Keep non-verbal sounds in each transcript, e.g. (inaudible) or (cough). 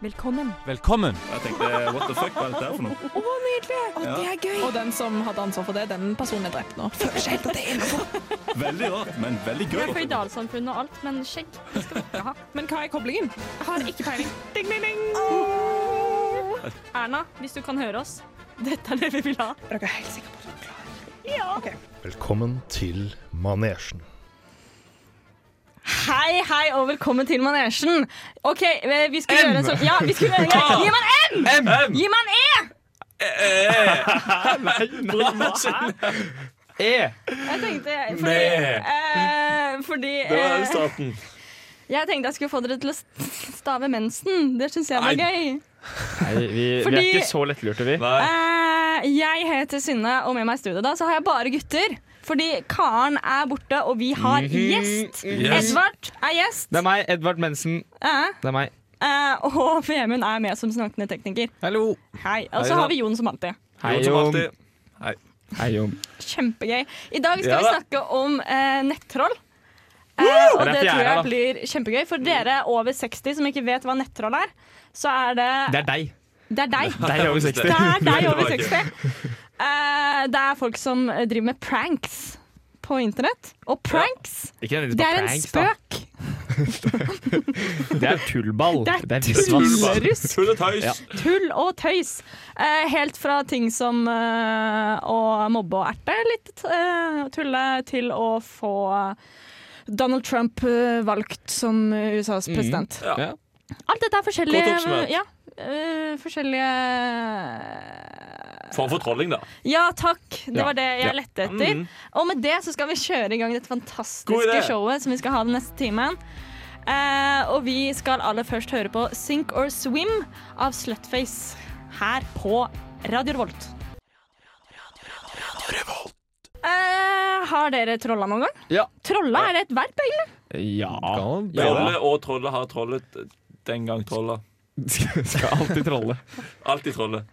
Velkommen. Velkommen! Jeg tenkte what the fuck, hva er dette her for noe? Å, nydelig! Ja. Det er gøy. Og den som hadde ansvar for det, den personen er drept nå. Føler seg helt at det er innenfor. Veldig rart, men veldig Vi er gøy. føydalsamfunn og alt, men skjegg det skal vi ikke (laughs) ha. Men hva er koblingen? Har ikke peiling. Ding, ding, ding. Erna, hvis du kan høre oss, dette er det vi vil ha. Dere er helt sikre på at dere klarer det. Velkommen til manesjen. Hei, hei, og velkommen til Manesjen. OK, eh, vi skulle gjøre en sånn Ja, vi skulle gjøre en greie. Gi meg en M! M! Gi meg en E! E! Jeg tenkte Fordi, Med. E. eh, fordi Det var eh, starten. Jeg tenkte jeg skulle få dere til å st- stave mensen. Det syns jeg var Nei. gøy. Nei, vi, vi Fordi- er ikke så lettlurte, vi. Nei. Eh, jeg heter Synne, og med meg i studio da, så har jeg bare gutter. Fordi Karen er borte, og vi har gjest. Yes. Edvard er gjest. Det er meg, Edvard Mensen. Eh, Det er meg. eh, og (laughs) Vemund er med som snakkende tekniker. Hallo. Hei. Og Hei, så da. har vi Jon som alltid. Hei, Jo, som Jon. alltid. Hei, Jon. Kjempegøy. I dag skal Ja vi da. snakke om eh, nettroll. Eh, og Det er det derfor jeg tror er her, jeg da. blir kjempegøy. For dere over 60 som ikke vet hva nettroll er, så er det Det er deg. Det er deg. Deg over Det 60. er deg over Tilbake. 60. Eh, det er folk som driver med pranks på internett. Og pranks, (laughs) Ikke nødvendigvis det bare er en pranks, da. spøk. Det er tullball. Det er visvas. tull. Rusk. Tull og tøys. Ja. Tull og tøys. Eh, helt fra ting som eh, å mobbe og erte litt, eh, tulle, til å få Donald Trump eh, valgt som USAs president. Ja. Ja. Alt dette er forskjellige Kort oppsummert. ja, eh, forskjellige Form for trolling, da. Ja takk, det Ja. var det jeg Ja. lette etter. Mm. Og med det så skal vi kjøre i gang dette God fantastiske idé. showet som vi skal ha den neste timen. Eh, og vi skal aller først høre på Sink or Swim av Slutface her på Radio Revolt. Eh, har dere trolla noen gang? Ja. Trolla, er det et verb, egentlig? Ja. Trolle og trolle har trollet den gang trolla. Skal alltid trolle. Alltid trolle.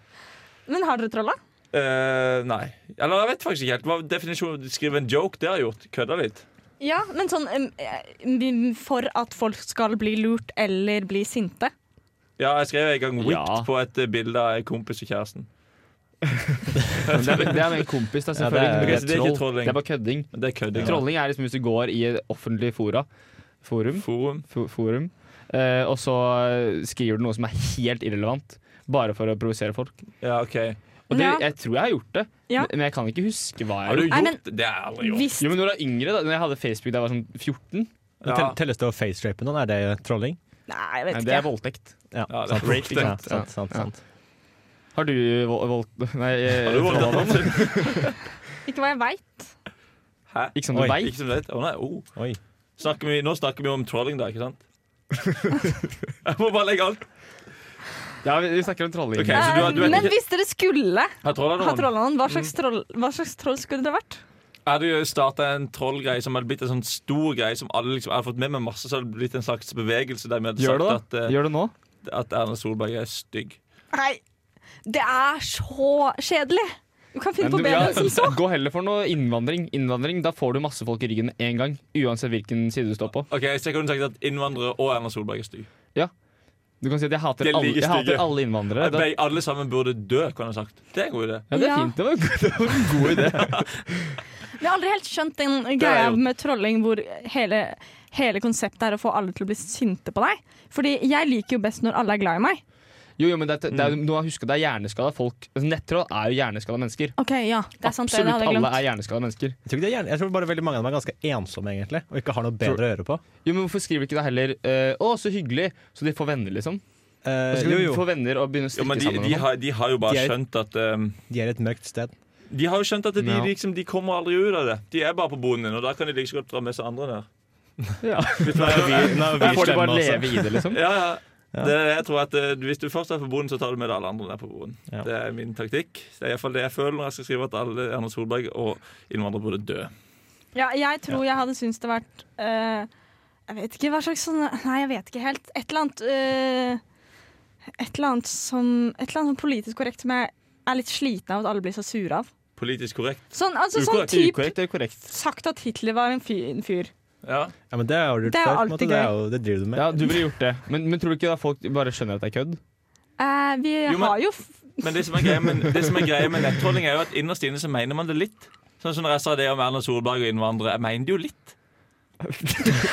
Men har dere trolla? Eh, nei. Eller jeg vet faktisk ikke helt. Hva er definisjonen Skrive en joke, det har jeg gjort. Kødda litt. Ja, men sånn eh, for at folk skal bli lurt eller bli sinte. Ja, jeg skrev en gang whipped Ja. på et eh, bilde av en kompis og kjæresten. Men det, er, det er med en kompis, da, selvfølgelig. Ja, det er- Men Ok, så det er ikke trolling. Det er bare kødding. Men det er kødding. da. Trolling er liksom hvis du går i et offentlig fora. Forum. Forum. fo- forum. eh, og så skriver du noe som er helt irrelevant, bare for å provosere folk. Ja, OK. Og det, Ja. jeg tror jeg har gjort det, Ja. men jeg kan ikke huske hva Har du jeg har gjort. Nei, gjort men- det? har jeg aldri gjort. Hvis Jo, men når jeg var yngre, da når jeg hadde Facebook da jeg var sånn 14 Ja. Tell- Telles det å facerape noen? Er det trolling? Nei, jeg vet Nei, ikke. Det er voldtekt. Ja, Ja, det er sant. raping. Ja, sant, sant, Ja. sant. Har du vold... vold nei, eh, Har du trolla voldtatt noen? noen? Ikke hva jeg veit. Hæ? Ikke som du Oi. veit. Ikke som det? Å nei. Oh. Oi. Snakker vi, nå snakker vi om trolling, da, ikke sant? (laughs) jeg må bare legge alt. Ja, vi, vi snakker om trolling. Ok, så du har- du har Men ikke- hvis dere skulle Har trolla ha noen? trolla noen, hva slags troll, hva slags troll skulle det vært? Jeg hadde jo starta en trollgreie som hadde blitt en sånn stor greie som alle liksom, jeg hadde fått med meg masse, så hadde det blitt en slags bevegelse der vi hadde Gjør du det? sagt at, eh, Gjør du nå? at Erna Solberg er stygg. Nei, det er så kjedelig! Du kan finne på Men du- bedre ja, enn sånn. som så. (laughs) Gå heller for noe innvandring. Innvandring, Da får du masse folk i ryggen med en gang. Uansett hvilken side du står på. OK, så jeg kunne sagt at innvandrere og Erna Solberg er stygg. Du kan si at jeg hater, De er alle, like jeg hater stygge. alle innvandrere. Da, Be- Alle sammen burde dø, kan jeg ha sagt. Det er en god idé. ja, det er Ja. fint. Det var, det var en god (laughs) idé. (laughs) Vi har aldri helt skjønt den har jeg greia gjort. med trolling hvor hele, hele konseptet er å få alle til å bli sinte på deg. Fordi jeg liker jo best når alle er glad i meg. Jo, jo, men det, er- det er, nå har jeg husket det er hjerneskada folk. Altså, Nettroll er jo hjerneskada mennesker. Ok, ja, det er sant det, det Absolutt hadde jeg alle glemt. er hjerneskada mennesker. Jeg tror, ikke det er gjerne, jeg tror bare veldig mange av dem er ganske ensomme egentlig og ikke har noe bedre å gjøre på. Jo, men Hvorfor skriver du ikke da heller eh, 'Å, så hyggelig', så de får venner, liksom? Eh, Og så kan jo, de jo, få venner og begynne å Jo, stikke men de, sammen. de, og sånn. har, de har jo bare De er- skjønt at um, de er et mørkt sted. De har jo skjønt at de, Ja. liksom, de kommer aldri ut av det. De er bare på boden din, og da kan de like så godt dra med seg andre ned. (laughs) Ja. Da Da får de bare leve i det, liksom. Ja, ja. Det, jeg tror at eh, Hvis du først er på boden, så tar du med deg alle andre ned på boden. Ja. Det er min taktikk. Det er iallfall det jeg føler når jeg skal skrive at alle Erna Solberg og innvandrere burde dø. Ja, jeg tror jeg hadde syntes det vært eh, Jeg vet ikke hva slags sånn Nei, jeg vet ikke helt. Et eller annet eh, Et eller annet som Et eller annet sånn politisk korrekt som jeg er litt sliten av at alle blir så sure av. Politisk korrekt. Sånn, altså, sånn Ukorrekt, typ Ukorrekt eller korrekt? sagt at Hitler var en fyr. En fyr. Ja. Ja, men det har du gjort Det er før. på en alltid måte. Det, er jo, det driver du med. Ja, du ville gjort det. Men, men tror du ikke da folk bare skjønner at det er kødd? Eh, vi Jo, men- har jo f Men det som er greia med, det som er greia med nettrolling, er jo at innerst inne så mener man det litt. Sånn som når jeg sa det om Erna Solberg og innvandrere. Jeg mener det jo litt. (laughs)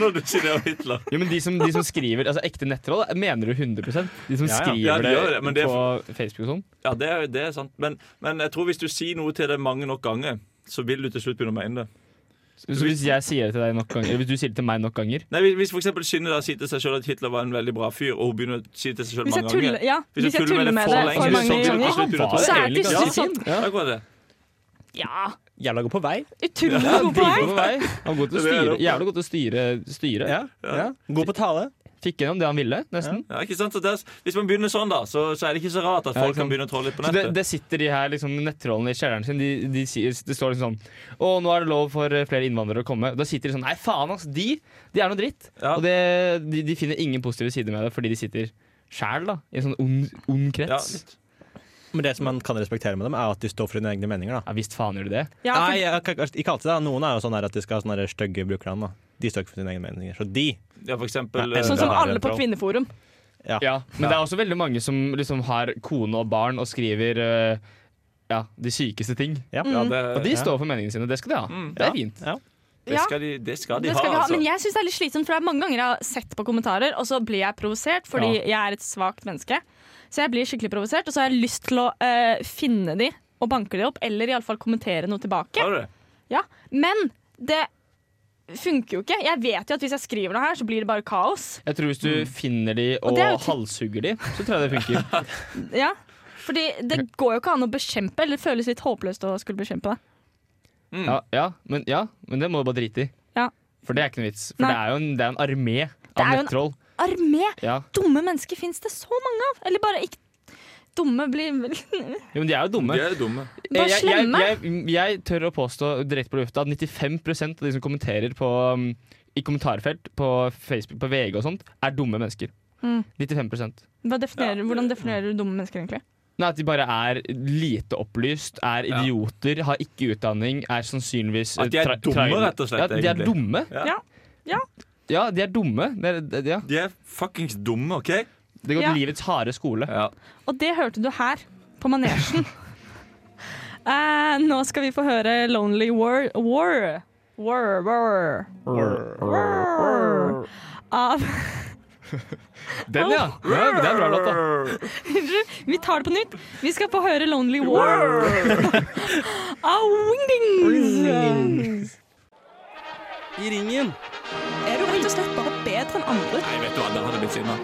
når du sier det om Hitler. Jo, men de som, de som skriver altså ekte nettroll, mener du 100 De som Ja, ja. skriver Ja, de gjør det, men det er på Facebook og sånn. Ja, det er, det er sant. Men, men jeg tror hvis du sier noe til det mange nok ganger, så vil du til slutt begynne å mene det. Så hvis jeg sier det til deg nok ganger, eller hvis du sier det til meg nok ganger Nei, Hvis, hvis for eksempel Synne da sier til seg sjøl at Hitler var en veldig bra fyr, og hun begynner å si det til seg sjøl Hvis jeg mange tuller, ganger ja, hvis jeg tuller med det for så mange blir det til ganger, slutt begynner å tro så det. er det til egentlig slutt sant. Ja. Akkurat det. Ja, Jeg lager på vei. utrolig Ja, sånn god poeng. dritgod på vei. Han er god til å Det er styre. det. Jævlig god til å styre. styre. Ja. Ja. Gå på tale. Fikk gjennom det han ville, nesten. Ja, ikke sant? Så det er, hvis man begynner sånn, da, så, så er det ikke så rart at Ja, folk ikke sant. kan begynne å trolle litt på Så det, nettet. det sitter de her liksom, nettrollene i kjelleren sin. De, de sier, det står liksom sånn Å, nå er det lov for eh, flere innvandrere å komme. Da sitter de sånn Nei, faen, ass! De de er noe dritt. Ja. Og det, de, de finner ingen positive sider med det fordi de sitter sjæl, da. I en sånn ond, ond Ja, krets. litt. Men det som man kan respektere med dem, er at de står for sine egne meninger. da Ja, visst faen gjør de det. Ja, Nei, for, jeg, kan ikke- ikke alltid. da Noen er jo sånn her at de skal ha sånne her stygge brukernavn. da. De står ikke for sine egne meninger. Så de ja, for eksempel Nei, eh, jeg sånn det som er alle en på troll. Kvinneforum. Ja. Ja, men Ja. det er også veldig mange som liksom har kone og barn og skriver eh, ja, de sykeste ting. Ja. Mm. ja, det, Og de Ja. står for meningene sine. Det skal de ha. Mm. Det er fint. det skal de, det skal de Det ha, skal vi ha, altså. men jeg syns det er litt slitsomt, for det er mange ganger jeg har sett på kommentarer, og så blir jeg provosert fordi jeg er et svakt menneske. Så jeg blir skikkelig provosert, og så har jeg lyst til å eh, finne de og banke de opp, eller iallfall kommentere noe tilbake. Har du det? Ja. Men det funker jo ikke. Jeg vet jo at hvis jeg skriver noe her, så blir det bare kaos. Jeg tror hvis du finner de Og og, det er jo til- halshugger de, så tror jeg det funker. Ja. Fordi det går jo ikke an å bekjempe, eller det føles litt håpløst å skulle bekjempe det. Mm. (laughs) ja, ja, men, ja, men det må du bare drite i. Ja. For det er ikke noe vits. For Nei. det er jo en, det er en armé Det er av jo en- nettroll. Armé! Ja. Dumme mennesker fins det så mange av! Eller bare ikke Dumme blir Jo, men de er jo dumme. De er jo dumme. Bare jeg, jeg, slemme. jeg, jeg tør å påstå direkte på lufta at 95 av de som kommenterer på, um, i kommentarfelt på Facebook, på VG og sånt, er dumme mennesker. Mm. 95 Hva definerer, Hvordan definerer du dumme mennesker, egentlig? Nei, At de bare er lite opplyst, er Ja. idioter, har ikke utdanning, er sannsynligvis At de er eh, dumme, rett og slett, Ja, de er egentlig. dumme. Ja. Ja. Ja. Ja, de er dumme. Det, er- det, ja. De er fuckings dumme, OK? det går Ja. til livets harde skole. Ja. Og det hørte du her, på manesjen. (laughs) Eh, nå skal vi få høre 'Lonely War War War War, war. Av (laughs) Den, ja! ja det er en bra låt, da. Vi tar det på nytt. Vi skal få høre 'Lonely War' (laughs) av Wingdings. I ringen. Er du rett og slett bare bedre enn andre? Nei, vet du hva, da hadde jeg blitt sinna.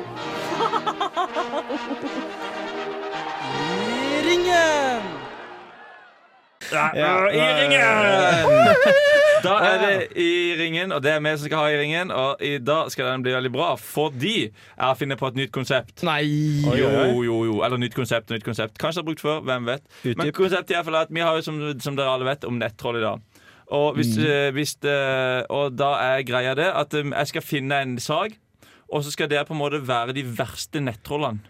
I ringen! Da er det i ringen, og det er vi som skal ha i ringen. Og i dag skal den bli veldig bra, fordi jeg har funnet på et nytt konsept. Nei! Jo, jo, jo. Eller nytt konsept, nytt konsept. Kanskje jeg har brukt før, hvem vet. Men Utdyp. konseptet i hvert fall er at vi har jo, som, som dere alle vet, om nettroll i dag. Og, hvis, Mm. eh, hvis det, og da er greia det at eh, jeg skal finne en sag, og så skal dere på en måte være de verste nettrollene.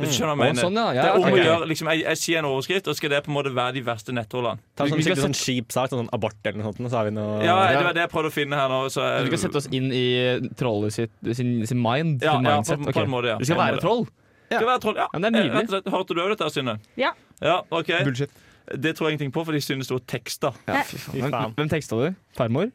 Hvis du skjønner hva jeg Å, mener. sånn, ja. Det Ja, er om ok. å gjøre, liksom, jeg, jeg sier en overskrift, og skal dere på en måte være de verste nettrollene. Ta Vi- sånn, vi skal skikkelig sånn kjip sak, sånn abort eller noe sånt. Så har vi noe Ja, det var det jeg prøvde å finne her nå. Så eh, Vi Ah. skal sette oss inn i trollet sitt, sin, sin mind. Ja, sin ja, mindset. på- på ok. en måte, ja. Du skal På en være måte. troll? Skal være troll, ja. Eh, Ja, men det er nydelig. Rett og slett, Hørte du òg dette, Synne? Ja. ja ok. Bullshit. Det tror jeg ingenting på, for de synes det var tekster. Ja, fy faen. Fy faen. Hvem, hvem teksta du? Farmor?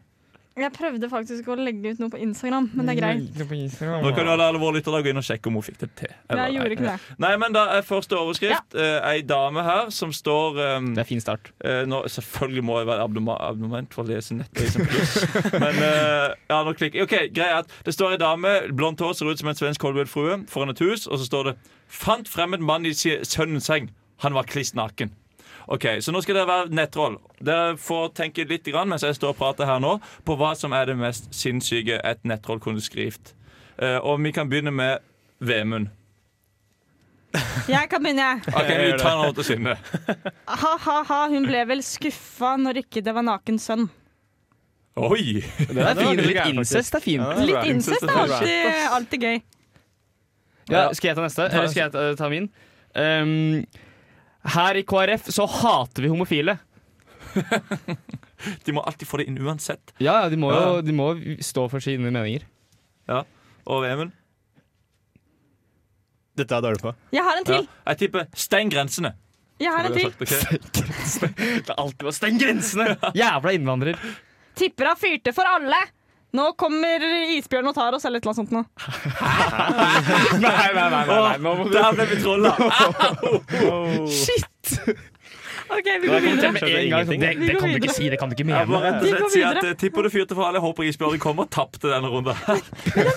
Jeg prøvde faktisk å legge ut noe på Instagram, men det er greit. Nå kan jo alle alle våre lyttere gå inn og sjekke om hun fikk det til. Eller Jeg gjorde ikke det. Nei, men da er første overskrift eh, ei dame her som står um, Det er fin start. eh, nå, Selvfølgelig må jeg være abdoma- abonnement for å lese nettavisen pluss. (laughs) Men eh, ja, nå klikker Ok, greia er at det står ei dame, blondt hår, ser ut som en svensk Colwood-frue, foran et hus, og så står det 'Fant fremmed mann i si- sønnens seng. Han var kliss naken'. Ok, Så nå skal dere være nettroll. Dere får tenke litt grann, mens jeg står og prater her nå, på hva som er det mest sinnssyke et nettroll kunne skrivt. Eh, og vi kan begynne med Vemund. (laughs) Jeg kan begynne, jeg. Ok, vi tar den over til Synne. Ha-ha-ha, hun ble vel skuffa når ikke det var naken sønn. (laughs) Oi! Det er var fint. litt Litt gærent, faktisk. incest er fint. det er bra. Litt incest er alltid, alltid gøy. Ja, skal jeg ta neste? Eller skal jeg ta, ta min? Ehm, Um, her i KrF så hater vi homofile. De må alltid få det inn uansett. Ja, ja, de må Ja, jo ja. de må stå for sine meninger. Og Even? Dette er jeg dårlig på. Jeg har en Ja. til! Jeg tipper steng grensene. Jeg har en til. Ville jeg sagt, ok? Det er alltid å stenge grensene! (laughs) Jævla innvandrer. Tipper han fyrte for alle! Nå kommer isbjørnen og tar oss, eller et eller annet sånt noe. Nei, nei, nei, nei, nei, nå må du (laughs) Der ble vi trolla! Shit! OK, vi går videre. Med en gang, sånn, det, Vi det går kan du ikke videre. si, det kan du ikke Jeg må mene. rett og Vi går slett si at videre. eh, tipper du fyrte for alle. Jeg håper isbjørnen kommer og tapte denne runden.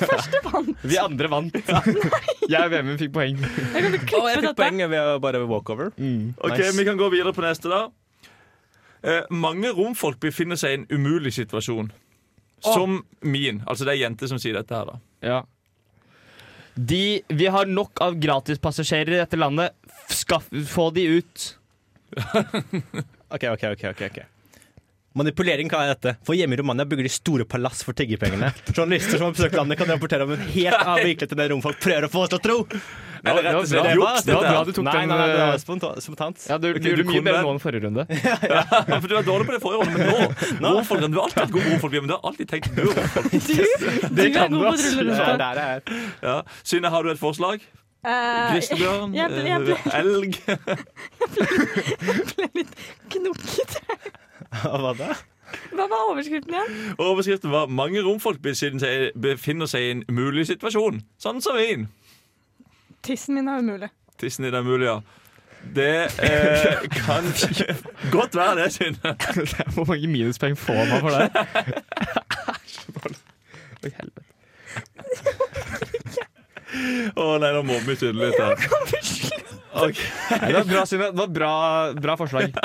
(laughs) Første vant. Vi andre (laughs) vant. Jeg og Vemund fikk poeng. Jeg kan Å, jeg klippe fikk dette. poeng ved å bare walkover. Ok, Nice. Vi kan gå videre på neste, da. Eh, mange romfolk befinner seg i en umulig situasjon. Som min. Altså det er jenter som sier dette her, da. Ja. De, vi har nok av gratispassasjerer i dette landet. F- Skaff, få de ut. Ok, ok, ok, ok, ok. Manipulering hva er dette? For hjemme i Romania bygger de store palass for tiggepengene. (laughs) Journalister som har besøkt landet, kan rapportere om en helt annen virkelighet enn det romfolk prøver å få oss til å tro. Eller det rett var og bra. slett juks, Det var dette bra her. du tok nei, den. nei, nei, Altså, det eh, var sponta- spontant. Ja, du, Ok, du gjorde du mye kom bedre der. nå enn forrige runde. Ja, (laughs) for Du var dårlig på det forrige året, men nå romfolk, Du har alltid hatt gode romfolk, men du har alltid tenkt du er (laughs) romfolk. Du er god på å Det drulle er rundt. der jeg er. Ja. Synne, har du et forslag? Eh, Grizzlybjørn? jeg- jeg- jeg- eh, Elg? Jeg ble litt knokete. Hva (laughs) da? Hva var overskriften igjen? Overskriften var 'Mange romfolk befinner seg- befinner seg i en umulig situasjon'. Sånn som min. Tissen min er umulig. Tissen i det mulige. ja. Det eh, (laughs) kan godt være det, Synne. Hvor mange minuspoeng får man for det? Å nei, nå mobber vi tydelig litt her. Nei, det var bra, Synne. Det var bra, bra (laughs) forslag.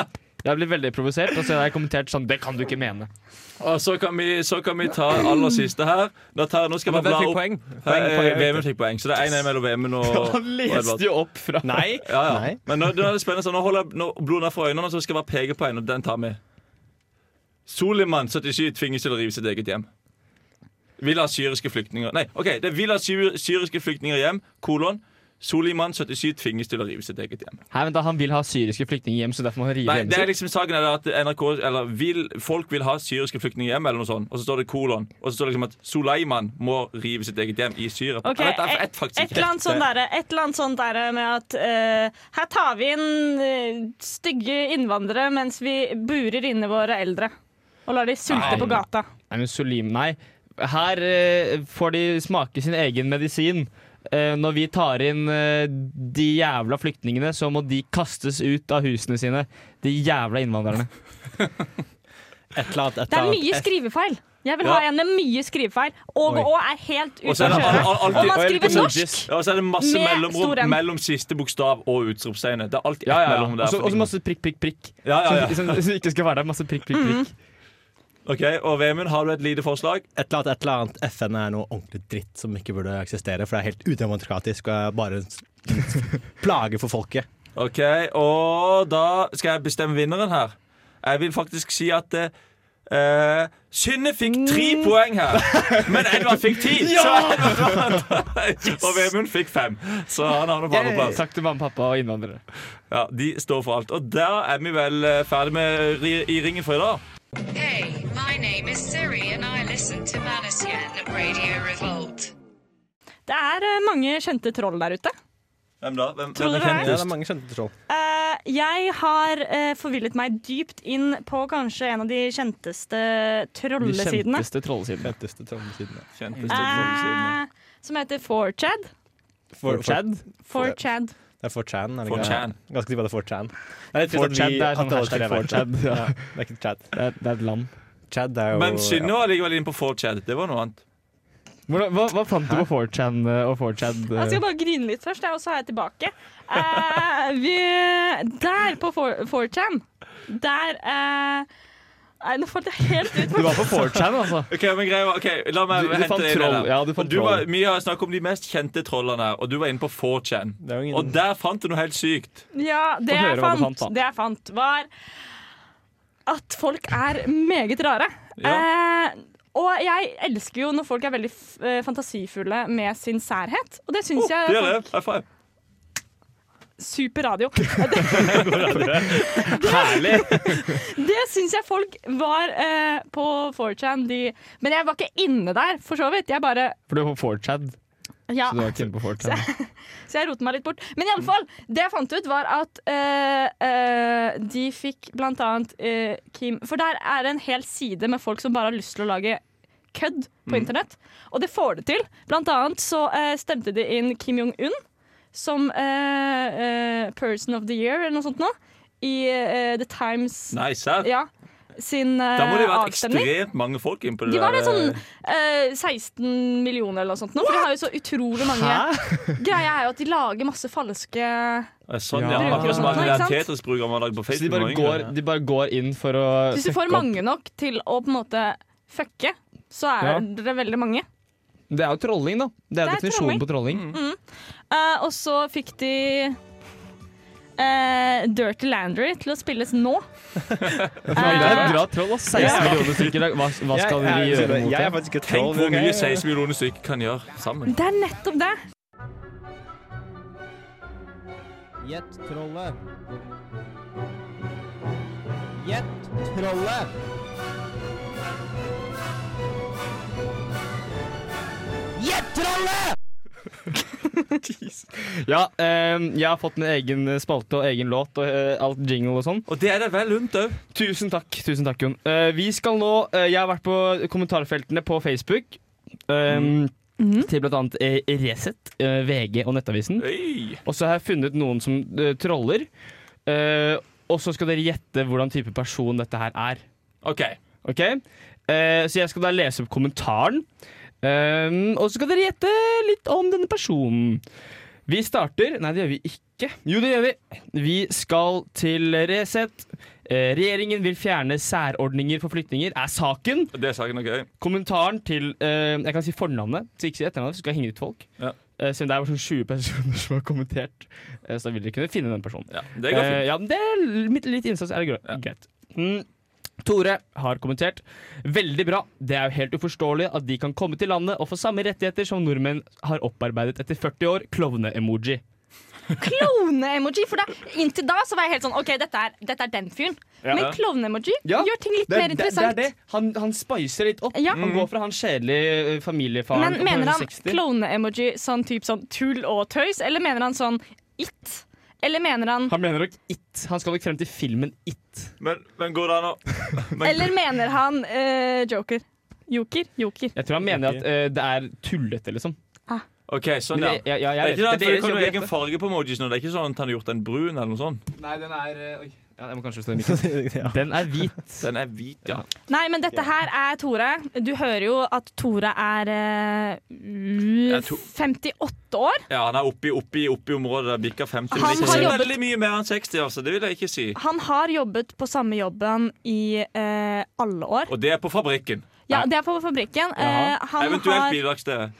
Jeg ble veldig provosert, og så har jeg kommentert sånn Det kan du ikke mene. Og så kan vi, så kan vi ta aller siste her. Da tar, nå skal vi Men hvem bla fikk opp poeng? Poeng, Eh, poeng, Vemund fikk poeng, så det er 1-1 mellom Vemund og, Han og Edvard. leste jo opp fra Nei. Ja, ja. Nei. Men nå, nå er det spennende, så nå holder jeg nå blodet ned fra øynene, så skal jeg bare peke på en, og den tar vi. Soliman 77 tvinges til å rive sitt eget hjem. Vil ha syriske flyktninger Nei, OK. Det vil ha syr, syriske flyktninger hjem, kolon. Soliman 77 tvinges til å rive sitt eget hjem. Nei, vent da, Han vil ha syriske flyktninger hjem, så derfor må han rive Nei, hjemmet det er sitt. liksom saken er det at NRK Eller vil, folk vil ha syriske flyktninger hjem, eller noe sånt. Og så står det kolon. Og så står det liksom at Soleiman må rive sitt eget hjem i Syria. Ok, jeg vet, jeg vet faktisk Et ikke. eller annet sånn sånt derre et eller annet sånt derre med at eh, her tar vi inn eh, stygge innvandrere mens vi burer inne våre eldre. Og lar de sulte Nei. på gata. Nei, men Solim, nei. Her eh, får de smake sin egen medisin. Eh, når vi tar inn eh, de jævla flyktningene, så må de kastes ut av husene sine. De jævla innvandrerne. Et eller annet, et Det eller er annet. mye skrivefeil. Jeg vil Ja. ha en med mye skrivefeil. Og Oi. og er helt Og så ute er å det al- kjøre. al- alltid Og man Og skriver helt på norsk! nudges. Ja, og så er det masse Med stor mellomrom M. mellom siste bokstav og utropstegnet. Det er alltid Ja, ett ja, ja. mellom der. Og så- for Og så ingen- masse prikk, prikk, prikk. ja, ja, ja. Som, som, som ikke skal være der. Masse prikk, prikk, prikk. Ok, Og Vemund, har du et lite forslag? Et eller annet, et eller annet. FN er noe ordentlig dritt som ikke burde eksistere, for det er helt udemokratisk og er bare en s- plage for folket. Ok, Og da skal jeg bestemme vinneren her. Jeg vil faktisk si at eh, eh, Synne fikk tre Mm. poeng (laughs) her, men Edvard fikk ti. Så Edvard vant. (laughs) Og Vemund fikk fem. Så han havner på andreplass. Takk til mamma, pappa og innvandrere. Ja, de står for alt. Og da er vi vel eh, ferdig med ri i ringen for i dag. Hey, my name is Siri and I listen to Manasian at Radio Revolt. Det er eh, mange kjente troll der ute. Hvem da? Hvem, Tror hvem er dere det? kjentest? mange kjente troll. Eh, jeg har eh, forvillet meg dypt inn på kanskje en av de kjenteste De trollesidene. kjenteste trollesidene. Kjenteste trollene siden. Kjentest Eh, som heter 4chad. For, for, Chad? 4chan. det er 4chan, er det ikke? 4chan. det? Ganske sikkert bare 4chan. Det er litt trist at 4chan, vi- det er at sånn alle hashtag skal leve her. 4chan. Ja. Ja, det er ikke Chad. Det, er, det er et land. Chad er jo Men Synne var likevel inne på 4chat. Det var noe annet. Hvordan, hva, hva fant du på 4chan eh, og 4chan? eh? Jeg skal bare grine litt først, jeg, og så er jeg tilbake. Eh, vi, der på 4chan, der eh, Nei, nå falt jeg helt ut. Du var på 4chan, altså. Ok, men greia var, ok, La meg Du- du hente fant deg inn i troll. det. Ja, du fant Og du var, troll. vi har snakket om de mest kjente trollene, her, og du var inne på 4chan. Det er jo ingen- Og der fant du noe helt sykt. Ja, det Få høre jeg hva du fant, fant, da. det jeg fant, var at folk er meget rare. Eh, og jeg elsker jo når folk er veldig f eh, fantasifulle med sin særhet, og det syns Oh, jeg det er det. folk High five. super (laughs) radio. Herlig! (laughs) Det syns jeg folk var eh, på 4chan. De, men jeg var ikke inne der, for så vidt. Jeg bare For du er på 4chan, ja, så du var ikke inne på 4chan. Så jeg roter meg litt bort. Men iallfall, det jeg fant ut, var at eh, eh, de fikk blant annet eh, Kim For der er det en hel side med folk som bare har lyst til å lage kødd på Mm. internett. Og det får det til. Blant annet så eh, stemte de inn Kim Jong-un som eh, eh, Person of the Year eller noe sånt nå. I eh, The Times Nei, serr? ja, sin eh, Da må det ha vært avstemning. ekstremt mange folk inne på det De var det der, sånn eh, 16 millioner eller noe sånt nå, for de har jo så utrolig mange Greia er jo at de lager masse falske eh, Sånn, ja. Ja. Akkurat som alle Ikke de sant? Tetris-brukerne har lagd på Så de Facebook. bare, nå, går, egentlig. de bare går inn for å Hvis du fucke får opp. mange nok til å på en måte fucke, så er Ja. det veldig mange. Det er jo trolling, da. Det er, Det er jo definisjonen på trolling. Mm. Eh, og så fikk de eh, Dirty Landry til å spilles nå. Faen, det er Eh, bra troll, ass. 16 millioner stykker. Hva, hva skal vi jeg, gjøre mot Jeg er det? faktisk ikke troll. Tenk hvor men mye ok. 16 millioner stykker kan gjøre sammen. det er nettopp det. Gjett (laughs) trollet. Gjett trollet. Gjett trollet! Ja, eh, jeg har fått min egen spalte og egen låt og eh, alt jingle og sånn. Og det er det vel lunt òg. Tusen takk, tusen takk, Jon. Eh, vi skal nå eh, Jeg har vært på kommentarfeltene på Facebook. eh, Til blant annet eh, Resett, eh, VG og Nettavisen. Og så har jeg funnet noen som eh, troller. Eh, og så skal dere gjette hvordan type person dette her er. OK. Ok? Eh, så jeg skal da lese opp kommentaren. Ehm, og så skal dere gjette litt om denne personen. Vi starter Nei, det gjør vi ikke. Jo, det gjør vi. Vi skal til Resett. Eh, regjeringen vil fjerne særordninger for flyktninger, er saken. Det er saken er gøy. Kommentaren til eh, Jeg kan si fornavnet, så ikke si etternavnet, så skal jeg henge ut folk. Ja. Eh, selv om det er bare sånn 20 personer som har kommentert, eh, så da vil dere kunne finne den personen. Ja, det går Eh, fint. ja, men det er litt, litt innsats er det greit. greit. Mm. Tore har kommentert. Veldig bra. Det er jo helt uforståelig at de kan komme til landet og få samme rettigheter som nordmenn har opparbeidet etter 40 år. Klovne-emoji. Klovne-emoji. For da, inntil da så var jeg helt sånn OK, dette er, dette er den fyren. Men klovne-emoji Ja, gjør ting litt Det, er- mer det, det interessant. er det. Han, han spicer litt opp. Ja. Han går fra han kjedelige eh, familiefaren Men mener han 60. klovne-emoji sånn type sånn tull og tøys, eller mener han sånn it? Eller mener han Han mener nok It. Han skal nok frem til filmen It. Men, men går det an å men- Eller mener han eh, joker? Joker? Joker. Jeg tror han mener at eh, det er tullete, liksom. OK, sånn, Men ja. det, ja, ja, Det jeg er vet ikke det, at Det er det deres kan jobb å være egen gjette. farge på emojis nå. Det er ikke sånn at han har gjort den brun eller noe sånt. Nei, den er eh, Oi. Ja, jeg må kanskje stå i mikken. Den er hvit. Den er hvit, ja. Nei, men dette her er Tore. Du hører jo at Tore er eh, Jeg to- 58 år. ja han er oppi, oppi, oppi området der bikka 50. Han Men ikke har så jobbet- veldig mye mer enn 60, altså. Det vil jeg ikke si. Han har jobbet på samme jobben i eh, alle år. Og det er på fabrikken. Ja, det er på fabrikken. Eh, han, Eventuelt har, bidragsstedet.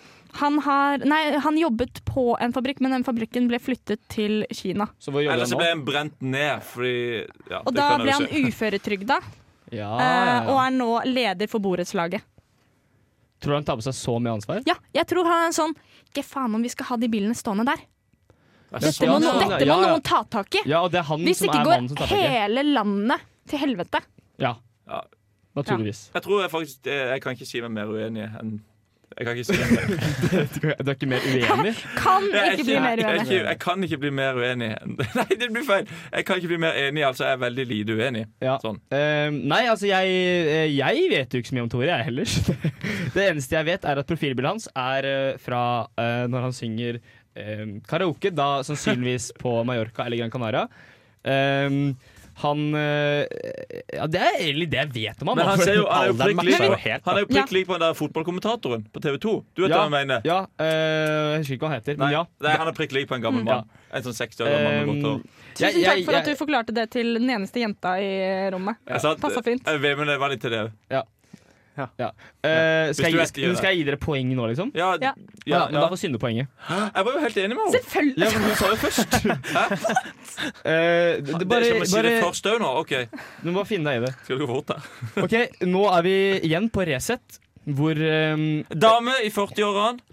han har Nei, han jobbet på en fabrikk, men den fabrikken ble flyttet til Kina. Så hvor jobber Eller han så nå? ble han brent ned fordi ja, Og det da kan ble jeg jo Ah, han (laughs) si. uføretrygda, Ja, eh, ja, ja. og er nå leder for borettslaget. Tror du han tar på seg så mye ansvar? Ja, jeg tror han er en sånn Ikke faen om vi skal ha de bilene stående der. Altså, Dette sånn, må, Ja, no- ja, dette må ja, ja. noen ta tak i. Ja, og det er han Hvis som ikke er mannen som går tar tak i det. hele landet til helvete. Ja. Ja. Naturligvis. Jeg tror jeg faktisk eh, Jeg kan ikke si meg mer uenig enn Jeg kan ikke si meg (laughs) mer (laughs) Du er ikke mer uenig? Kan Jeg er ikke bli mer Jeg, er uenig. ikke- jeg kan ikke bli mer uenig. (laughs) Nei, det blir feil. Jeg kan ikke bli mer enig, altså jeg er veldig lite uenig. Ja. Sånn. Eh, nei, altså jeg, eh, jeg vet jo ikke så mye om Tore, jeg heller. (laughs) det eneste jeg vet, er at profilbildet hans er eh, fra eh, når han synger eh, karaoke, da sannsynligvis på Mallorca eller Gran Canaria. Eh, han eh, Ja, det er egentlig det jeg vet om ham. Men (laughs) han, ser jo, han er jo prikk lik matcher jo på, han er jo prikk Ja. lik på den der fotballkommentatoren på TV 2. Du vet ja, hva jeg mener? Ja, eh, jeg husker ikke hva han heter, Nei, men ja. nei, han er prikk lik på en Mm. gammel mann. En sånn 60 år gammel mann. med Eh, godt hår. jeg- Tusen takk jeg- for at du jeg- forklarte det til den eneste jenta i rommet. Jeg sa at- Passer fint. Jeg vemmer det veldig til det. ja. Eh, skal, du jeg, skal gjøre gi- skal jeg gi dere poeng nå, liksom? Ja, Ja. ja, Ja, ja, Men da får Synne poenget. Jeg var jo helt enig med henne. Selvfølgelig! Ja, men hun sa det først. (laughs) Eh, det, Det det er bare, ikke om å si bare, det først òg nå. OK, du må bare finne deg i det. skal det gå fort her? Ok, Nå er vi igjen på Resett. hvor, eh, Dame i 40-årene.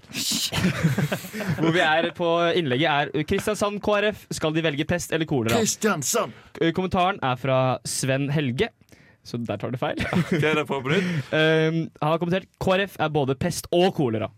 hvor vi er på innlegget, er Kristiansand KrF. Skal de velge pest eller kolera? Kristiansand! Eh, Kommentaren er fra Sven Helge, så der tar du feil. Ok, det prøver på nytt. Um, han har kommentert KrF er både pest og kolera.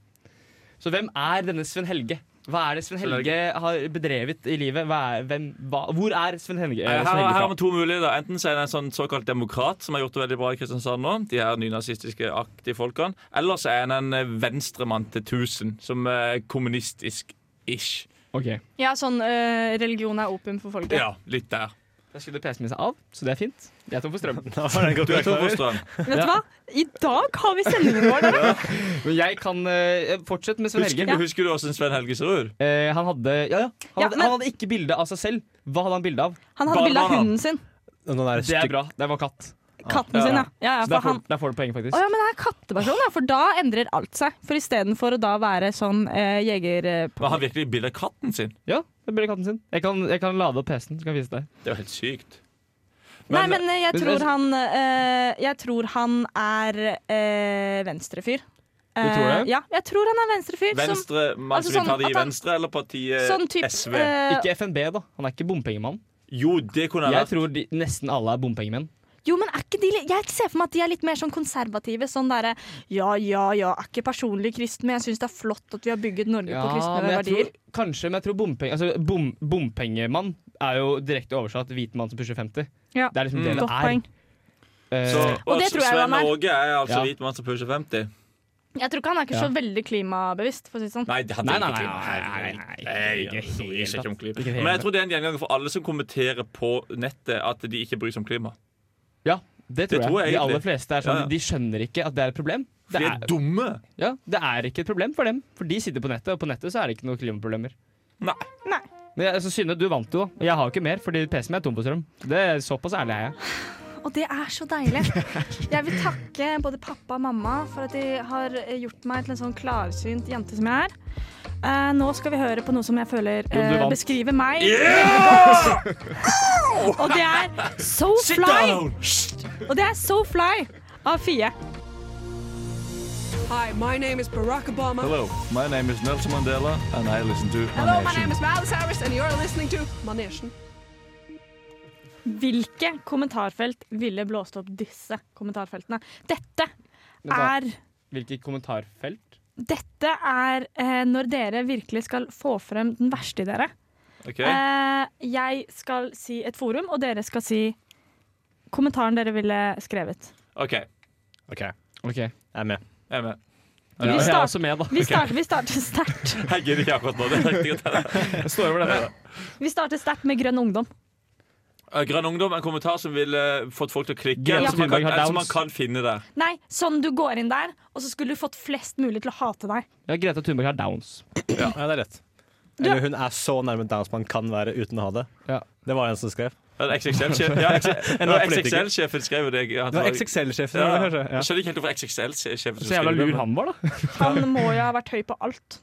Så hvem er denne Sven Helge? Hva er det Sven Helge har bedrevet i livet? Hva er, hvem, hva, hvor er Sven Helge, eh, Her, Sven her har vi Helge fra? to muligheter. Enten så er det en sånn såkalt demokrat som har gjort det veldig bra i Kristiansand nå, de her nynazistiske aktige folkene, eller så er han en eh, venstremann til 1000, som er kommunistisk-ish. Ok. Ja, sånn eh, religion er opium for folket. Ja, litt der. Da skulle PC-en min seg av, så det er fint. Jeg tar for (laughs) strøm. Da var den Du godt er to vekk. fosterhjem. Vet du hva? I dag har vi sendingen vår, dere! Men jeg kan eh, fortsette med Sven Helge. Husker, husker du hvordan Sven Helge ser ut? Eh, han hadde Ja, ja. Han, Ja, hadde, men- han hadde ikke bilde av seg selv. Hva hadde han bilde av? Han hadde Bare bilde av han, hunden sin. Noen er Det er stygg- bra. Det var katt. Katten sin, ja. ja, ja Så for der får, han der får du poeng, faktisk. Å ja, men det er katteperson, ja, for da endrer alt seg. For istedenfor å da være sånn eh, jeger... eh, Var han virkelig bilde av katten sin? Ja, det ble katten sin. Jeg kan, jeg kan lade opp PC-en, så kan jeg vise deg. Det er jo helt sykt. Nei, Men, men eh, jeg men- tror han eh, Jeg tror han er eh, venstrefyr. Du tror det? Eh, ja, jeg tror han er venstrefyr. som- venstre, man altså altså, sånn vil ta det at i han- venstre, eller partiet Sånn typ, SV? eh, Ikke FNB, da. Han er ikke bompengemann. Jo, det kunne jeg Jeg vært. tror de, nesten alle er bompengemenn. Jo, men er ikke de li- Jeg ser for meg at de er litt mer sånn konservative. Sånn derre Ja, ja, ja, er ikke personlig kristen, men jeg syns det er flott at vi har bygget Norge på kristne men jeg verdier. tror, kanskje, men jeg tror bompeng, altså, bom, bompengemann er jo direkte oversatt hvit mann som pusher 50. Ja. Det er liksom det Mm. det Godt poeng. er. Eh, Så, Og det tror jeg Sven han er. Åge er altså Ja. hvit mann som pusher 50. Jeg tror ikke han er ikke Ja. så veldig klimabevisst, for å si det sånn. Nei, det hadde Nei, jeg nei, ikke nei, klima. nei, nei, nei, nei, altså, ikke helt bryr seg ikke om klima. Ikke helt Men jeg tror det er en gjenganger for alle som kommenterer på nettet at de ikke bryr seg om klima. ja, det tror Det jeg. tror jeg de egentlig. aller fleste er sånn, Ja, ja. de skjønner ikke at det er et problem. For Det de er, er dumme. ja, det er ikke et problem for dem, for de sitter på nettet, og på nettet så er det ikke noen klimaproblemer. Nei. Nei. Men jeg, altså, Synne, du vant jo. Jeg har jo ikke mer, fordi PC-en min er tom på strøm. Det er Såpass ærlig er jeg. Og det er så deilig. Jeg vil takke både pappa og mamma for at de har eh, gjort meg til en sånn klarsynt jente som jeg er. Eh, nå skal vi høre på noe som jeg føler du eh, vant. beskriver meg veldig godt. Og det er So Sit Fly! down! Og det er So Fly av Fie. Hi, my name is Barack Obama. Hello, my name is Nelson Mandela, and I listen to Hello, my name is Miles Harris, and you're listening to Manation. Hvilke kommentarfelt ville blåst opp disse kommentarfeltene? Dette da. er Hvilket kommentarfelt? dette er eh, når dere virkelig skal få frem den verste i dere. Ok. Eh, jeg skal si et forum, og dere skal si kommentaren dere ville skrevet. OK, OK, jeg Ok, Jeg er med. jeg er med. er Vi starter- også med, da. Vi starter, vi (laughs) starter sterkt Jeg gidder ikke akkurat nå. det er riktig godt. Jeg (laughs) står over denne. Vi starter sterkt med Grønn ungdom. Eh, Grønn Ungdom en kommentar som ville eh, fått folk til å klikke. Ja. Som, man kan, Thunberg har som man Downs. kan finne der. Nei, sånn du går inn der, og så skulle du fått flest mulig til å hate deg. Ja, Greta Thunberg har downs. Ja, det er rett. Eller hun er så nærme downs man kan være uten å ha det. Ja. Det var en som skrev. En XXL-sjef ja, XXL det var politiker. XXL-sjefen skrev jo det. jeg- Det var XXL-sjefen. Ja. kanskje? Ja. Jeg skjønner ikke helt hvorfor XXL-sjefen Så jævla lur han var, da. Han må jo ha vært høy på alt.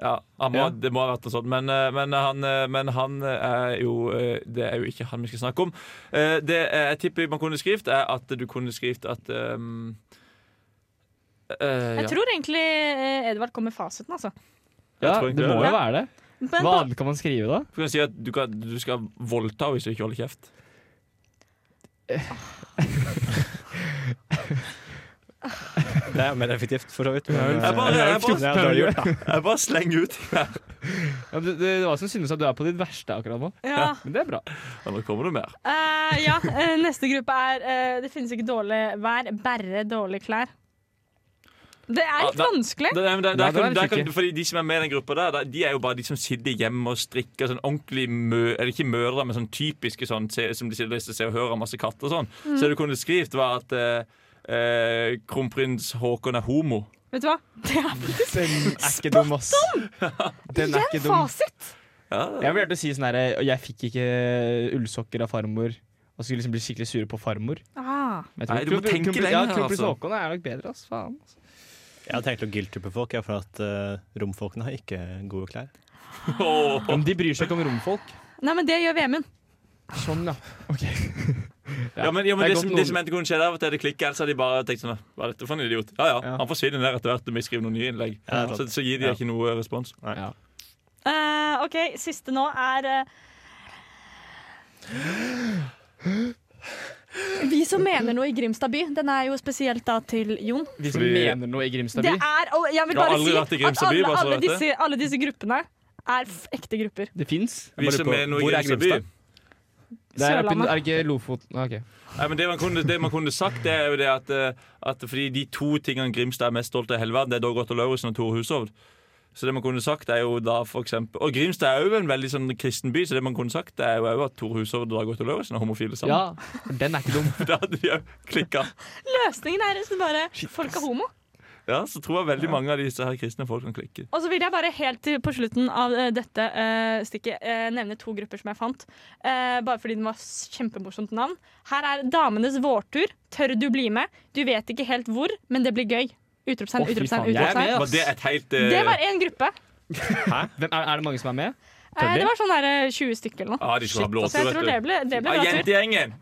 Ja, han må, Ja. Det må ha vært noe sånt. Men, eh, men, han, eh, men han er jo eh, Det er jo ikke han vi skal snakke om. Eh, Det eh, jeg tipper man kunne skrevet, er at du kunne skrevet at ehm, eh, Jeg ja. tror egentlig eh, Edvard kom med fasiten, altså. Ja, tror ikke det må det. jo være det. Men Hva på, annet kan man skrive, da? Du kan si at du, kan, du skal voldta hvis du ikke holder kjeft. Det er mer effektivt, for så vidt. vel. eh, Jeg bare- jeg bare- det er dårlig gjort, da. Jeg bare slenger ut. Ja, det, det var som synes at du er på ditt verste akkurat nå. ja. Men det (laughs) er bra. Ja, Nå kommer det mer. Eh, ja. eh, neste gruppe er eh, Det finnes ikke dårlig vær, bare dårlige klær. Det er litt Ja, vanskelig. Det, nei, men der, Nei, der, det var kan, det der kan, ikke. fordi De som er med i den gruppa der, der, de er jo bare de som sitter hjemme og strikker sånn ordentlig mø, Eller ikke mødre, men sånn typiske sånn se, som de sitter og ser og hører masse katter og sånn. Så det du kunne skrevet, var at eh, eh, kronprins Haakon er homo. Vet du hva? Det er Den er ikke dum, ass. (laughs) Den er ikke dum. fasit! Ja, det- Jeg vurderte å si sånn herre Jeg fikk ikke ullsokker av farmor. Og skulle liksom bli skikkelig sure på farmor. Ah. Men jeg Nei, du må kronpr- tenke kronpr- lenger Ja, her, Kronprins altså. Haakon er nok bedre, ass. Faen. ass. Jeg har tenkt å guilt-trippe folk jeg, for at eh, romfolkene har ikke gode klær. Åh. Men de bryr seg ikke om romfolk. Nei, men det gjør Vemund. Sånn, ja. (laughs) Ja, men, ja, men Det er det, godt som, noen- det som endte kunne skje der, var at det klikket, ellers hadde de bare tenkt sånn Hva er dette for en idiot? Ja, ja, han forsvinner ned etter hvert når vi skriver noen nye innlegg. Ja, sant. så, så gir de Ja. ikke noe respons. Ja. Eh, OK, siste nå er eh, Vi som mener noe i Grimstad by. Den er jo spesielt da til Jon. Vi som Fordi- mener noe i Grimstad Det by. er, og jeg vil Jeg har bare aldri si vært i at Grimstad by, alle, bare så alle, du vet disse, alle disse gruppene er f ekte grupper. Det fins. Vi bare som lurer på, er noe i hvor er Grimstad by. Grimstad? Det er, oppi- Sørlandet. er det ikke Lofoten ah, ok. Nei, men det man, kunne, det man kunne sagt, det er jo det at, eh, at fordi de to tingene Grimstad er mest stolt av i hele verden, det er Dag Otto Lauritzen og Tore Hushovd. Så det man kunne sagt er jo da for eksempel Og Grimstad er jo en veldig sånn kristen by, så det man kunne sagt er jo også at Tore Hushovd og Dag Otto Lauritzen er homofile (laughs) Ja, sammen. for den er ikke dum. Da hadde de òg klikka. Løsningen er liksom bare folk er homo. Ja, så tror jeg veldig mange av disse her kristne folk kan klikke. Og så vil jeg bare helt til på slutten av eh, dette eh, stikket eh, nevne to grupper som jeg fant. eh, bare fordi den var s- kjempemorsomt navn. Her er Damenes vårtur. Tør du bli med? Du vet ikke helt hvor, men det blir gøy. Utropstegn, Å, fy utropstegn, faen, jeg er med, utropstegn. Var det et helt eh, Det var én gruppe. Hvem, er, er det mange som er med? Eh, det var sånn der eh, 20 stykker Ah, eller noe. Ja, de skulle ha blå Så jeg tror det ble, det ble Ja, bra tur. jentegjengen!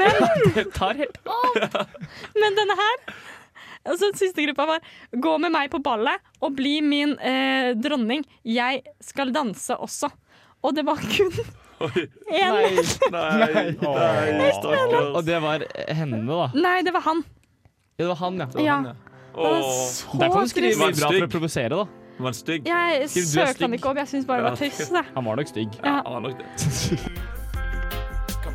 (laughs) Det tar helt (laughs) Men denne her og så den siste gruppa var Gå med meg på ballet og bli min eh, dronning. Jeg skal danse også. Og det var kun én Nei. Nei. Nei, nei, Og stakkars. det var eh, henne, da. det var han. Ja, det var han, ja. Ja. Han er Åh, så Der kan du skrive trist. mye bra for Stygg. å provosere, da. var han stygg? Jeg Skriv, du er søkte han stygg. ikke opp. Jeg syns bare det var Ja. trist. Det. Han var nok stygg. Ja. Ja, han var (laughs) nok det.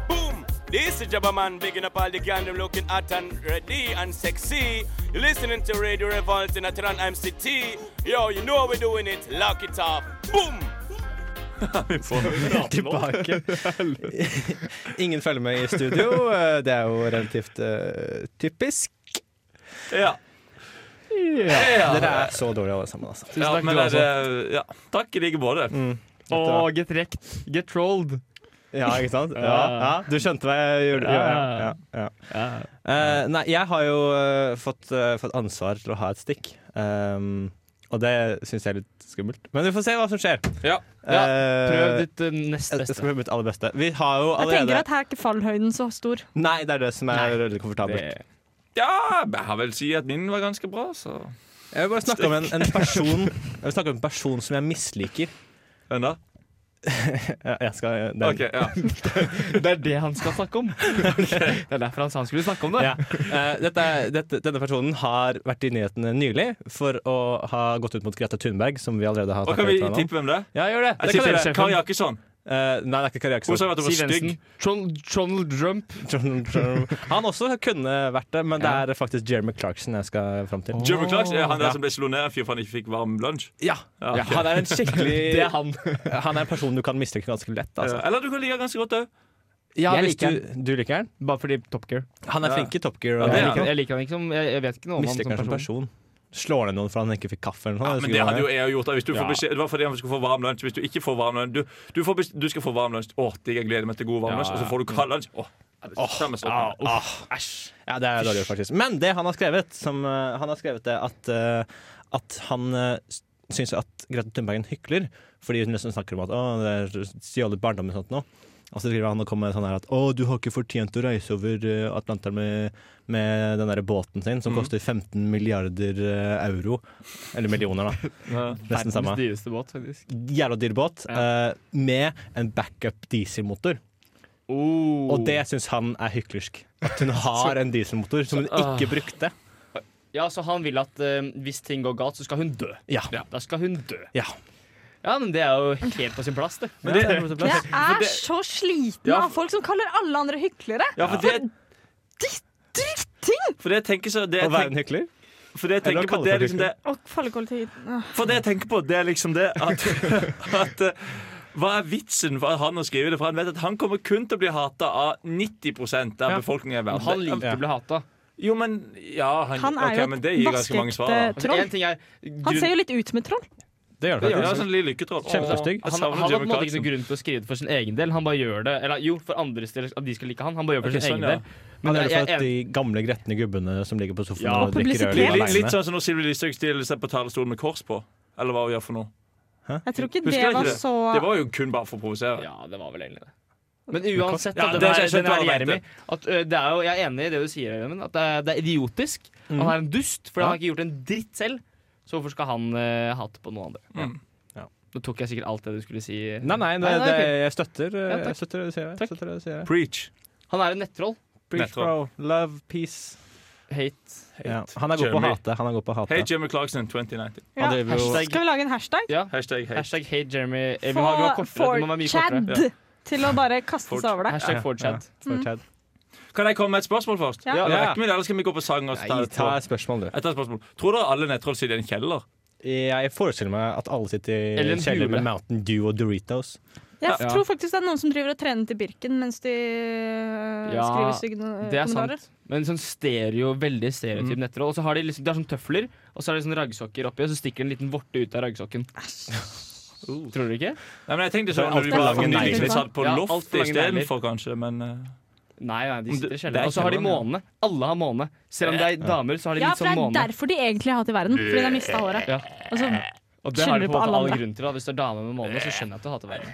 Boom! This is Jabba Man bigging up all the gandam looking hot and ready and sexy. You're listening to Radio Revolt in Atran MCT. Yo, you know we're doing it. Lock it off. Boom! Vi får noe. (laughs) Tilbake. Ingen følger med i studio. eh, Det er jo relativt eh, typisk. Ja. Dere er så dårlige alle sammen, altså. Ja, Tusen takk, men du er også. det- ja. Takk i like måte. Og get rekt. Get trolled. Ja, ikke sant? Ja, ja. Du skjønte hva jeg gjorde? Ja, ja, ja, Eh, nei, jeg har jo eh, fått, eh, fått ansvar til å ha et stikk. Ehm, og det syns jeg er litt skummelt. Men vi får se hva som skjer. Ja. Ja, Eh, Prøv ditt eh, nest jeg- jeg skal beste. prøve mitt aller beste. Vi har jo Jeg tenker allerede at her er ikke fallhøyden så stor. Nei, det er det som er veldig komfortabelt. Det- Ja, men jeg har vel si at min var ganske bra, så Jeg vil bare snakke om en, en person Jeg vil snakke om en person som jeg misliker. Enda? Ja, jeg skal, den, (laughs) OK, ja. (laughs) Det er det han skal snakke om. Det er derfor han sa han skulle snakke om det. Ja. Eh, dette, er- dette, denne personen har vært i nyhetene nylig for å ha gått ut mot Greta Thunberg, som vi allerede har Og kan snakket vi litt om. tippe hvem det er? Ja, gjør det. Jeg det tipper kan det. dere. er Kari Jakkesson. Eh, nei, det er ikke Kari Hun sa Jaksson. at hun var Siv stygg. Jensen. Tron- Donald Trump. Trump- Trump. (laughs) Han også kunne vært det, men det Ja. er faktisk Jeremy Clarkson jeg skal fram til. Jeremy Clarks er han der Ja. som ble slått ned av en fyr for han ikke fikk varm lunsj. Ja, Ja, ok. Han er en skikkelig (laughs) Det er han. Han er en person du kan mislike ganske lett. Altså. Eller du kan like han ganske godt òg. Ja, Jeg hvis liker du, du liker han. Bare fordi Top Gear. Han er Ja. flink i Top Gear. Ja, Og det er jeg han. liker han. Jeg liker han ikke som Jeg, jeg vet ikke noe om han Misliker han som person. Slår ned noen for han ikke fikk kaffe eller noe. Ja, det men skulle det hadde være- jo jeg gjort. da. Hvis du får Ja. beskjed, det var fordi han skulle få varm lunsj. Hvis du ikke får varm lunsj Du, du, får bes- du skal få varm lunsj. Å, digg, jeg gleder meg til god varm Ja, lunsj. Og så ja. får du kald lunsj. Åh, er det samme sak? Ja, uff. Ah, Ja, det er dårlig gjort, faktisk. Men det han har skrevet, som, eh, han har skrevet det at, eh, at han uh, syns at Grete Thunberg er en hykler, fordi hun liksom snakker om at å, det er stjålet barndom og sånt nå. Og så skriver han og kommer med sånn her at å, du har ikke fortjent å reise over eh, Atlanteren med, med den der båten sin, Mhm. som koster 15 milliarder eh, euro. Eller millioner, (laughs) da. Nesten samme. Verdens dyreste båt, faktisk. Jævla dyr båt. eh, med en backup dieselmotor. Og Oh. det syns han er hyklersk. At hun har en dieselmotor som hun ikke brukte. Ja, så han vil at eh, hvis ting går galt, så skal hun dø. Ja. Da skal hun dø. Ja. Ja, men det er jo helt på sin plass, det. Men det, Jeg er så sliten Ja, av folk som kaller alle andre hyklere. ja, for det For det jeg tenker så det jeg Å være en tenker, hykler? For det jeg Eller å tenker på, kalle det er folk liksom det Og fallkollektivet. For det jeg tenker på, det er liksom det at, (laughs) at eh, Hva er vitsen for han å skrive det? For han vet at han kommer kun til å bli hata av 90 av Ja. befolkningen i Men Han verden. liker å bli hata. Jo, men Ja, han, Han er ok, jo men det et eh, gir ganske mange svar. da. vaskeekte Altså, en troll. ting er Han grunn- ser jo litt ut som et troll. Det gjør Det det altså. gjør han faktisk. sånn lille lykketroll. Åh, Kjempestygg. jeg han, savner han har på Jeremy en måte ikke Clarkson. noen grunn til å skrive det for sin egen del. Han bare gjør det Eller jo, for andres del, at de skal like han. Han bare gjør det for Ok, sin sånn, egen ja. del. Han Men gjør det jeg, for at jeg, de gamle gretne gubbene som ligger på sofaen Ja. og drikker øl Publisitet. litt, alene. litt sånn som når Sylvi Listhaug stiller seg på talerstolen med kors på. Eller hva hun gjør for noe. Jeg tror ikke Husker det jeg ikke var det? så Det var jo kun bare for å provosere. ja, det var vel egentlig det. Men uansett, Ja, at det det, er er, skjønt den hva er du mente. Jeremy at, ø, det er jo, Jeg er enig i det du sier, Jeremy, at det er, det er idiotisk. Mm. Han er en dust, for Ja. han har ikke gjort en dritt selv. Så hvorfor skal han ø, hate på noen andre? Mm. Nå tok jeg sikkert alt det du skulle si. Nei, nei, det, Nei, nei, det, ok. jeg støtter eh, Ja, takk. jeg støtter det du sier. jeg Støtter det du sier. Preach. Han er en nettroll. Preach, bro. Nettopp. Love, peace. Hate. Ja. Han er god på å Jeremy. hate. Han er god på å hate. Hei, Jimmy Clarkson 2019. Ja, hashtag- Skal vi lage en hashtag? Ja. Hashtag hate. Hashtag hate Jeremy. Eh, Vi må, ha- vi må ha Få kortere, det må være mye Chad kortere. til å bare kaste Fort- seg over det. Hashtag for Chad. Mm. Kan jeg komme med et spørsmål først? Ja. Ja. Ja. rekker vi det, Eller skal vi gå på sang? og Nei, ta et spørsmål, du. Jeg tar et spørsmål. Tror dere alle nettroll sitter i en kjeller? Jeg forestiller meg at alle sitter i Eller en en kjeller hule. med Mountain Dew og Doritos. Jeg Ja. tror faktisk det er noen som driver og trener til Birken mens de øh, Ja, skriver stygge øh, Det er kommentarer. sant. Men sånn stereo, veldig stereotyp nettroll. Og så har de liksom, det er sånn tøfler, og så er det sånn raggsokker oppi, og så stikker det en liten vorte ut av raggsokken. Uh. Tror du ikke? Nei, men jeg tenkte Det sånn er når vi altfor var lange unge, negler. liksom, satt på Ja, altfor loftet lange istedenfor, kanskje. Men eh, Nei, nei, de Men sitter i det- kjelleren. det er Og så har de kjelleren, måne. Alle har måne. Selv om det er damer, så har de Ja, litt for det sånn er måne. derfor de egentlig har hatt i verden. Fordi de har mista håret. Altså, Ja. Og så Og det har de skylder på en på måte alle all andre. grunn til. Da. Hvis det er dame med måne, så skjønner jeg at du hater verden.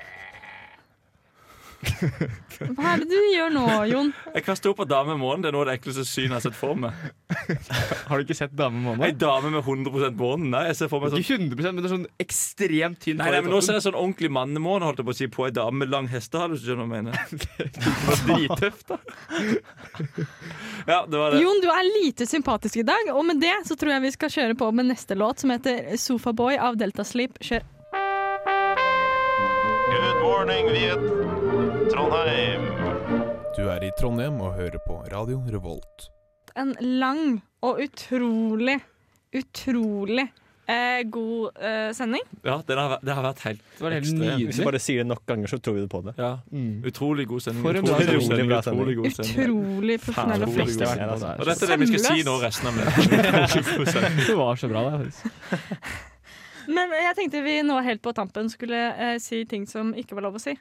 Hva er det du gjør nå, Jon? jeg kaster opp på dame med månen. Det er noe av det ekleste synet jeg har sett for meg. Har du ikke sett dame med Ei dame med 100 månen. Nei, jeg ser for meg sånn Ikke 100 men det er sånn ekstremt tynn Nei, nei, men nå ser jeg sånn ordentlig mannemåne holdt jeg på å si, på ei dame med lang hestehale. hvis du skjønner hva jeg mener. drittøft, da. (laughs) Ja, det var det. Jon, du er lite sympatisk i dag, og med det så tror jeg vi skal kjøre på med neste låt, som heter Sofaboy av Delta Sleep. Kjør. Good morning, Viet. Trondheim. Du er i Trondheim og hører på Radio Revolt. En lang og utrolig, utrolig eh, god eh, sending. Ja, den har, vært- det har vært helt Det var helt ekstremt. nydelig. Hvis vi bare sier det nok ganger, så tror vi på det. Ja. Utrolig god sending. For en utrolig bra god sending. sending, Utrolig god sending. Utrolig profesjonell og flink. flink. jeg har vært på der. Og dette er det vi skal si nå resten av møtet. Det var så bra, det. faktisk. Men jeg tenkte vi nå helt på tampen skulle eh, si ting som ikke var lov å si.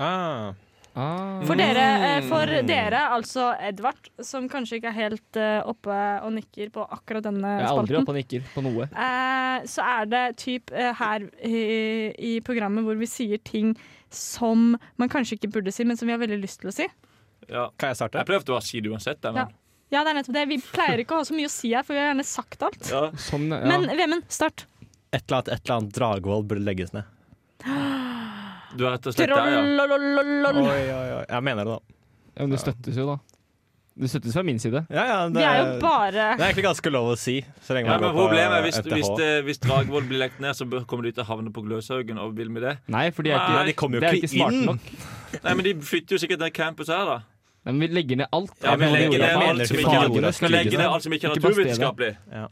Ah. For dere, Mm. eh, for dere, altså Edvard, som kanskje ikke er helt eh, oppe og nikker på akkurat denne Jeg er aldri spalten. oppe og nikker på noe. Eh, så er det typ eh, her i, i programmet hvor vi sier ting som man kanskje ikke burde si, men som vi har veldig lyst til å si. Mm. Ja. Kan jeg starte? Jeg prøvde å si det uansett. jeg, Ja. Men. Ja, det er nettopp det. Vi pleier ikke å ha så mye å si her, for vi har gjerne sagt alt. Ja. Sånn, ja. Men Vemund, start. Et eller annet, et eller annet Dragvoll burde legges ned. Du er rett og slett der, ja. Oi, Trollololol. oi, oi. Jeg mener det, da. Ja, men det støttes jo, da. Det støttes fra min side. Ja, ja, Vi det, er jo bare det er egentlig ganske lov å si. Så lenge Ja, man men går på problemet er hvis, ETH. hvis, det, hvis Dragvoll blir lagt ned, så bør- kommer de til å havne på Gløshaugen. Og vil med det? Nei, for de er ikke, Nei, de kommer jo det er ikke ikke smart inn. nok. Nei, men De flytter jo sikkert den campusen her, da. Nei, men vi legger ned alt. Ja, vi Alle legger jorda ned på alt som ikke fagene, er, skal legge ned studiene. alt som ikke er Ikke bare stedet. naturvitenskapelig.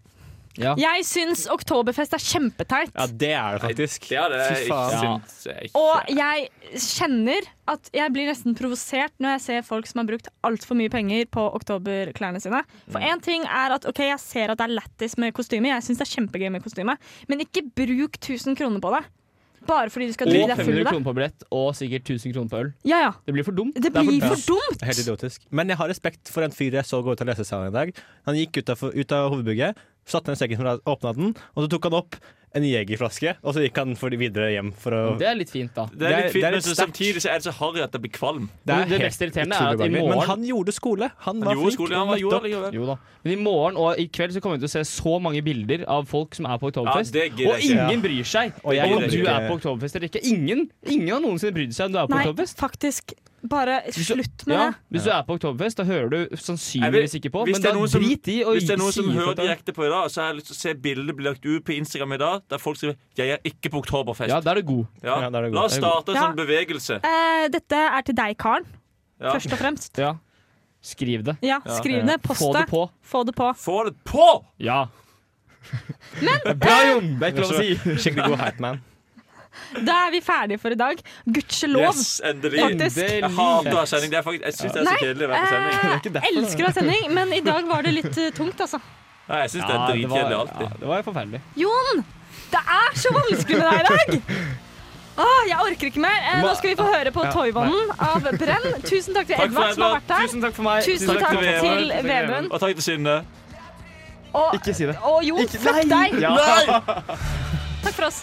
Ja. Jeg syns oktoberfest er kjempeteit. Ja, det er det faktisk. Det er det Fy jeg faen. syns jeg ikke. Og jeg kjenner at jeg blir nesten provosert når jeg ser folk som har brukt altfor mye penger på oktoberklærne sine. For én ting er at ok, jeg ser at det er lættis med kostyme, jeg syns det er kjempegøy med kostyme, men ikke bruk 1000 kroner på det. Bare fordi du skal Og drive deg full 500 av det. kroner på billett, og sikkert 1000 kroner på øl. Ja, ja. Det blir for dumt. Det er blir dumt. for dumt. Helt idiotisk. Men jeg har respekt for en fyr jeg så gå ut av lesesalen i dag. Han gikk ut av, ut av hovedbygget, satte ned sekken, åpna den, og så tok han opp en jegerflaske, og så gikk han for videre hjem for å Det er litt fint, da. Det er litt fint, det er men litt så sterkt. samtidig så er det så harry at jeg blir kvalm. Men det mest irriterende er at i Men morgen- han gjorde skole. Han, var gjorde flink. skole, han var- møtte gjorde opp. det, gjorde det. Jo da. Men i morgen og i kveld så kommer vi til å se så mange bilder av folk som er på Oktoberfest. Ja, det gidder og jeg ikke. ingen bryr seg Og jeg om gidder du ikke. er på Oktoberfest eller ikke. Ingen, ingen har noensinne brydd seg om du er på Nei, Oktoberfest. faktisk. Bare du- slutt med Ja, det. hvis du er på Oktoberfest, da hører du sannsynligvis ikke på. Hvis Men det er da noen som- drit i å Hvis det er noen si som hører ifra til direkte på i dag, så har jeg lyst til å se bildet bli lagt ut på Instagram i dag, der folk skriver 'Jeg er ikke på Oktoberfest'. Ja, da er du god. Ja. Ja, da er det La godt. oss starte en Ja. sånn bevegelse. Eh, dette er til deg, Karen, Ja. først og fremst. Ja. Skriv det. Eh, Ja, skriv ned. Post Få det på. Få det på. Få det på! Ja. Men (laughs) Bra, (laughs) Jon! Det er ikke lov (laughs) å si. Skikkelig god hype man. Da er vi ferdige for i dag. Gudskjelov. Yes, endelig. Faktisk. Jeg hater å ha sending. Det er faktisk, jeg syns det er så kjedelig å være på sending. eh, elsker å ha sending, men i dag var det litt eh, tungt, altså. Nei, jeg syns det er Ja, det var- dritkjedelig ja, alltid. Det var jo forferdelig. Jon, det er så vanskelig med deg i dag! Åh, jeg orker ikke mer. Eh, nå skal vi få høre på Ja, Toivonnen av Brenn. Tusen takk til Takk for Edvard som har Edvard. vært her. Tusen takk for meg. Tusen takk til Tusen takk Vemund. Og takk til Synne. Og, Ikke si det. og Jon, fuck deg! Ja. Takk for oss.